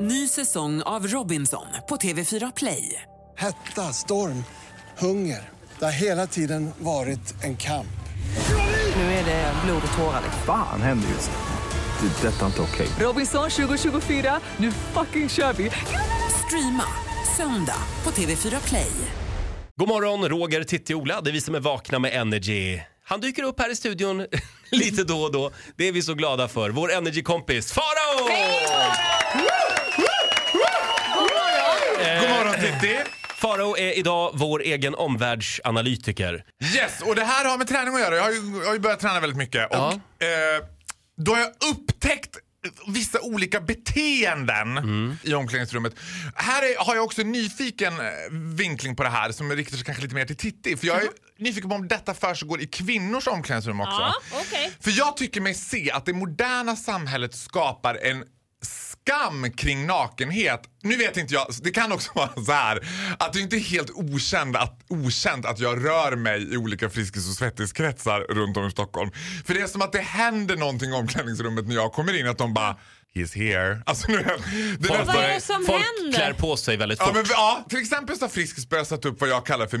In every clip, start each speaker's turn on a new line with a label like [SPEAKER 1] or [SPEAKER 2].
[SPEAKER 1] Ny säsong av Robinson på TV4 Play.
[SPEAKER 2] Hetta, storm, hunger. Det har hela tiden varit en kamp.
[SPEAKER 1] Nu är det blod och tårar. liksom.
[SPEAKER 3] Fan händer just nu. Det. är Detta är inte okej.
[SPEAKER 1] Robinson 2024, nu fucking kör vi! Streama söndag på TV4 Play.
[SPEAKER 4] God morgon, Roger, Titti, Ola. Det är vi som är vakna med Energy. Han dyker upp här i studion lite då och då. Det är vi så glada för. Vår Energy-kompis Farao!
[SPEAKER 5] God morgon Titti!
[SPEAKER 4] Farao är idag vår egen omvärldsanalytiker.
[SPEAKER 5] Yes, och det här har med träning att göra. Jag har ju, jag har ju börjat träna väldigt mycket. Och, eh, då har jag upptäckt vissa olika beteenden i omklädningsrummet. Här är, har jag också en nyfiken eh, vinkling på det här som riktar sig kanske lite mer till Titti. För jag är nyfiken på om detta försiggår i kvinnors omklädningsrum också.
[SPEAKER 6] Ja, okej.
[SPEAKER 5] För jag tycker mig se att det moderna samhället skapar en skam kring nakenhet. Nu vet inte jag, det kan också vara så här att det inte är helt okänd att, okänt att jag rör mig i olika Friskis och Svettis-kretsar runt om i Stockholm. För det är som att det händer någonting i omklädningsrummet när jag kommer in att de bara He's here. Alltså, nu, det är
[SPEAKER 6] Vad
[SPEAKER 5] nästan-
[SPEAKER 6] är det som
[SPEAKER 4] Folk
[SPEAKER 6] händer?
[SPEAKER 4] klär på sig väldigt fort.
[SPEAKER 5] Ja, men, ja, till exempel så har Friskis börjat sätta upp vad jag kallar för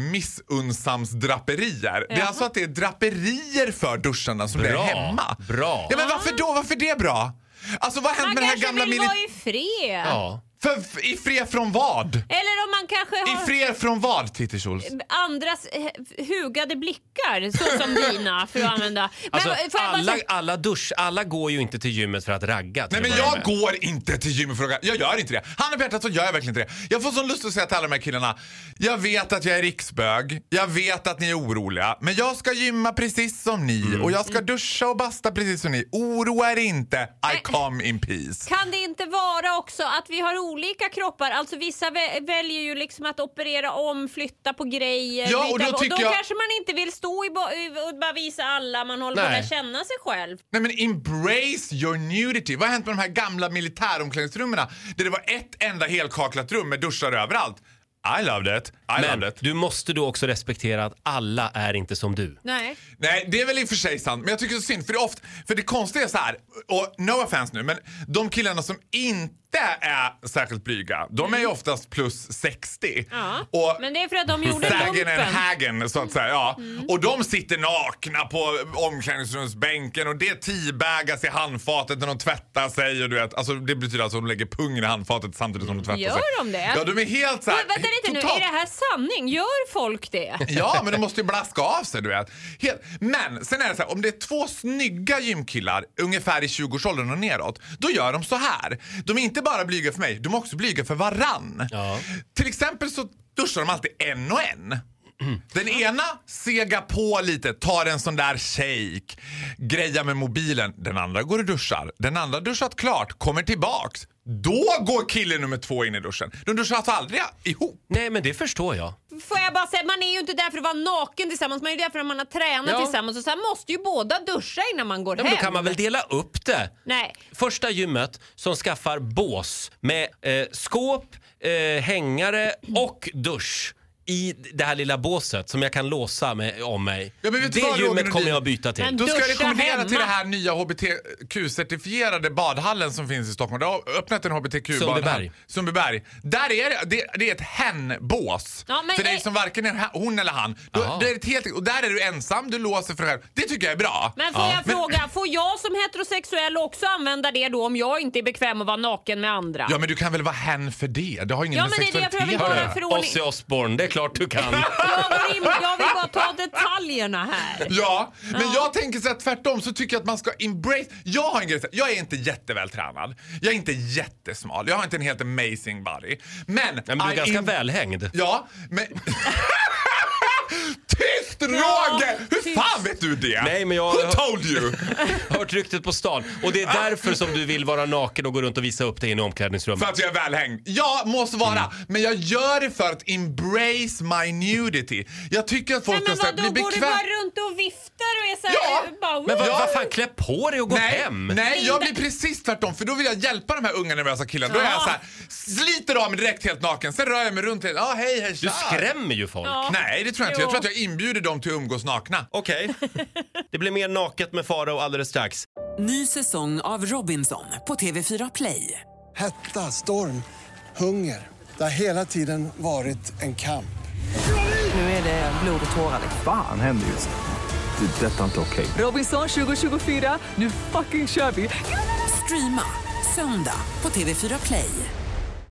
[SPEAKER 5] missunnsamsdraperier. Det är
[SPEAKER 6] Jaha.
[SPEAKER 5] alltså att det är draperier för duscharna som
[SPEAKER 4] Bra,
[SPEAKER 5] är hemma.
[SPEAKER 4] bra.
[SPEAKER 5] Ja, men varför då? Varför det bra? Alltså vad har hänt
[SPEAKER 6] Man
[SPEAKER 5] med den här
[SPEAKER 6] kanske
[SPEAKER 5] gamla
[SPEAKER 6] vill
[SPEAKER 5] mili...
[SPEAKER 6] vara i fred.
[SPEAKER 4] Ja.
[SPEAKER 5] För, f- I fred från vad?
[SPEAKER 6] Eller om man kanske
[SPEAKER 5] I
[SPEAKER 6] har
[SPEAKER 5] fred från vad, Titti Schultz?
[SPEAKER 6] andras eh, hugade blickar, så som dina, för att använda. Men,
[SPEAKER 4] Alltså,
[SPEAKER 6] får jag bara
[SPEAKER 4] alla,
[SPEAKER 6] säga-
[SPEAKER 4] alla dusch, alla går ju inte till gymmet för att ragga. till
[SPEAKER 5] Nej
[SPEAKER 4] att
[SPEAKER 5] men
[SPEAKER 4] börja
[SPEAKER 5] jag
[SPEAKER 4] med.
[SPEAKER 5] går inte till gymmet för att Jag gör inte det. Handen på hjärtat så gör jag verkligen inte det. Jag får sån lust att säga till alla de här killarna. Jag vet att jag är riksbög. Jag vet att ni är oroliga. Men jag ska gymma precis som ni.
[SPEAKER 4] Mm.
[SPEAKER 5] Och jag ska duscha och basta precis som ni. Oroa er inte. I come in peace.
[SPEAKER 6] kan det inte vara också att vi har olika kroppar? Alltså vissa vä- väljer ju liksom att operera om, flytta på grejer.
[SPEAKER 5] Ja,
[SPEAKER 6] byta-
[SPEAKER 5] och då tycker
[SPEAKER 6] då
[SPEAKER 5] jag-
[SPEAKER 6] kanske man inte vill stå i ba- i- och bara visa alla, man håller på
[SPEAKER 4] Nej.
[SPEAKER 6] att lära känna sig själv.
[SPEAKER 5] Nej men embrace your nudity. Vad har hänt med de här gamla militäromklädningsrummen? Där det var ett enda helkaklat rum med duschar överallt. I loved it. I loved
[SPEAKER 4] Men
[SPEAKER 5] it.
[SPEAKER 4] du måste då också respektera att alla är inte som du.
[SPEAKER 6] Nej.
[SPEAKER 5] Nej, det är väl i och för sig sant. Men jag tycker det är så synd. För det, är ofta, för det konstiga är så här, och no offense nu, men de killarna som inte är särskilt blyga, de är ju oftast plus 60.
[SPEAKER 6] Mm. Ja.
[SPEAKER 5] Och
[SPEAKER 6] Men det är för att de gjorde
[SPEAKER 5] Sägen
[SPEAKER 6] lumpen. Mm.
[SPEAKER 5] en hagen så att säga. Ja. Och de sitter nakna på omklädningsrumsbänken och det teabaggas i handfatet när de tvättar sig. Och du vet, alltså, det betyder alltså att de lägger pungen i handfatet samtidigt som de tvättar
[SPEAKER 6] Gör
[SPEAKER 5] sig.
[SPEAKER 6] de det?
[SPEAKER 5] Ja, de är helt så här,
[SPEAKER 6] Men vänta lite nu,
[SPEAKER 5] totalt-
[SPEAKER 6] är det här sanning? Gör folk det?
[SPEAKER 5] Ja, men de måste ju blaska av sig, du vet. Helt. Men sen är det så här, om det är två snygga gymkillar ungefär i 20-årsåldern och neråt, då gör de så här. De är inte bara blyga för mig, de är också blyga för varann.
[SPEAKER 4] Ja.
[SPEAKER 5] Till exempel så duschar de alltid en och en. Den ena segar på lite, tar en sån där shake, grejar med mobilen. Den andra går och duschar. Den andra duschat klart, kommer tillbaks. Då går kille nummer två in i duschen. De duschar alltså aldrig ihop.
[SPEAKER 4] Nej, men det förstår jag.
[SPEAKER 6] Får jag bara säga, man är ju inte där för att vara naken tillsammans, man är ju där för att man har tränat
[SPEAKER 4] Ja.
[SPEAKER 6] tillsammans och sen måste ju båda duscha innan man går
[SPEAKER 4] Ja, men
[SPEAKER 6] hem.
[SPEAKER 4] då kan man väl dela upp det?
[SPEAKER 6] Nej.
[SPEAKER 4] Första gymmet som skaffar bås med eh, skåp, eh, hängare och dusch i det här lilla båset som jag kan låsa med, om mig.
[SPEAKER 5] Ja, men vet
[SPEAKER 4] det
[SPEAKER 5] du vad, Roger
[SPEAKER 4] gymmet
[SPEAKER 5] Nordin?
[SPEAKER 4] kommer jag byta till.
[SPEAKER 6] Men
[SPEAKER 5] Då ska jag
[SPEAKER 6] Duscha
[SPEAKER 5] rekommendera
[SPEAKER 6] hemma.
[SPEAKER 5] till det här nya HBTQ-certifierade badhallen som finns i Stockholm. Det har öppnat en HBTQ-badhall.
[SPEAKER 4] Sundbyberg.
[SPEAKER 5] Sundbyberg. Där är det, det, det är ett hen-bås.
[SPEAKER 6] Ja, men
[SPEAKER 5] för dig
[SPEAKER 6] är-
[SPEAKER 5] som varken är ha- hon eller han. Då,
[SPEAKER 4] Jaha.
[SPEAKER 5] det är ett helt, och där är du ensam, du låser för dig själv. Det tycker jag är bra.
[SPEAKER 6] Men får
[SPEAKER 4] Ja.
[SPEAKER 6] jag fråga, får jag som heterosexuell också använda det då om jag inte är bekväm att vara naken med andra?
[SPEAKER 5] Ja, men du kan väl vara hen för det? Det har ingen
[SPEAKER 6] Ja,
[SPEAKER 5] med
[SPEAKER 6] men det är det jag
[SPEAKER 5] sexualitet
[SPEAKER 6] försöker
[SPEAKER 5] att
[SPEAKER 6] göra
[SPEAKER 5] göra.
[SPEAKER 6] för- förordning-
[SPEAKER 4] Ozzy Osbourne, det är klart du kan.
[SPEAKER 6] Jag, går in, jag vill bara ta detaljerna här.
[SPEAKER 5] Ja, men jag tänker så här, tvärtom så tycker jag att man ska embrace. Jag har en grej, så här, jag är inte jättevältränad. Jag är inte jättesmal. Jag har inte en helt amazing body. Men,
[SPEAKER 4] Nej, men du är
[SPEAKER 5] I
[SPEAKER 4] ganska
[SPEAKER 5] em-
[SPEAKER 4] välhängd.
[SPEAKER 5] Ja, men... Tyst Roger! Hur fan vet du det?
[SPEAKER 4] Nej, men jag-
[SPEAKER 5] Who told you?
[SPEAKER 4] Jag har hört ryktet på stan. Och det är därför som du vill vara naken och gå runt och visa upp dig inne i omklädningsrummet.
[SPEAKER 5] för att jag är välhängd. Ja, måste vara.
[SPEAKER 4] Mm.
[SPEAKER 5] Men jag gör det för att embrace my nudity. Jag tycker att
[SPEAKER 6] Nej,
[SPEAKER 5] folk
[SPEAKER 6] men
[SPEAKER 5] ska bli
[SPEAKER 6] vadå, går du
[SPEAKER 5] bekväm...
[SPEAKER 6] bara runt och viftar och är såhär...
[SPEAKER 5] Ja,
[SPEAKER 6] bara,
[SPEAKER 4] Men vad,
[SPEAKER 5] Ja.
[SPEAKER 4] vad fan, klä på dig och gå
[SPEAKER 5] Nej,
[SPEAKER 4] hem!
[SPEAKER 5] nej, jag blir precis tvärtom för då vill jag hjälpa de här unga nervösa killarna. Då är jag så här, sliter av mig direkt helt naken, sen rör jag mig runt helt, ja hej hej
[SPEAKER 4] Du
[SPEAKER 5] tja.
[SPEAKER 4] skrämmer ju folk.
[SPEAKER 6] Ja.
[SPEAKER 5] Nej det tror jag inte,
[SPEAKER 6] Jo.
[SPEAKER 5] jag tror att jag inbjuder dem till att umgås nakna.
[SPEAKER 4] Okej. Det blir mer naket med Farao alldeles strax.
[SPEAKER 1] Ny säsong av Robinson på TV4 Play.
[SPEAKER 2] hetta, storm, hunger. Det har hela tiden varit en kamp.
[SPEAKER 1] Nu är det blod och tårar. liksom.
[SPEAKER 3] Fan händer just nu. Det. är Detta är inte okej.
[SPEAKER 1] Robinson 2024, nu fucking kör vi! Streama söndag på TV4 Play.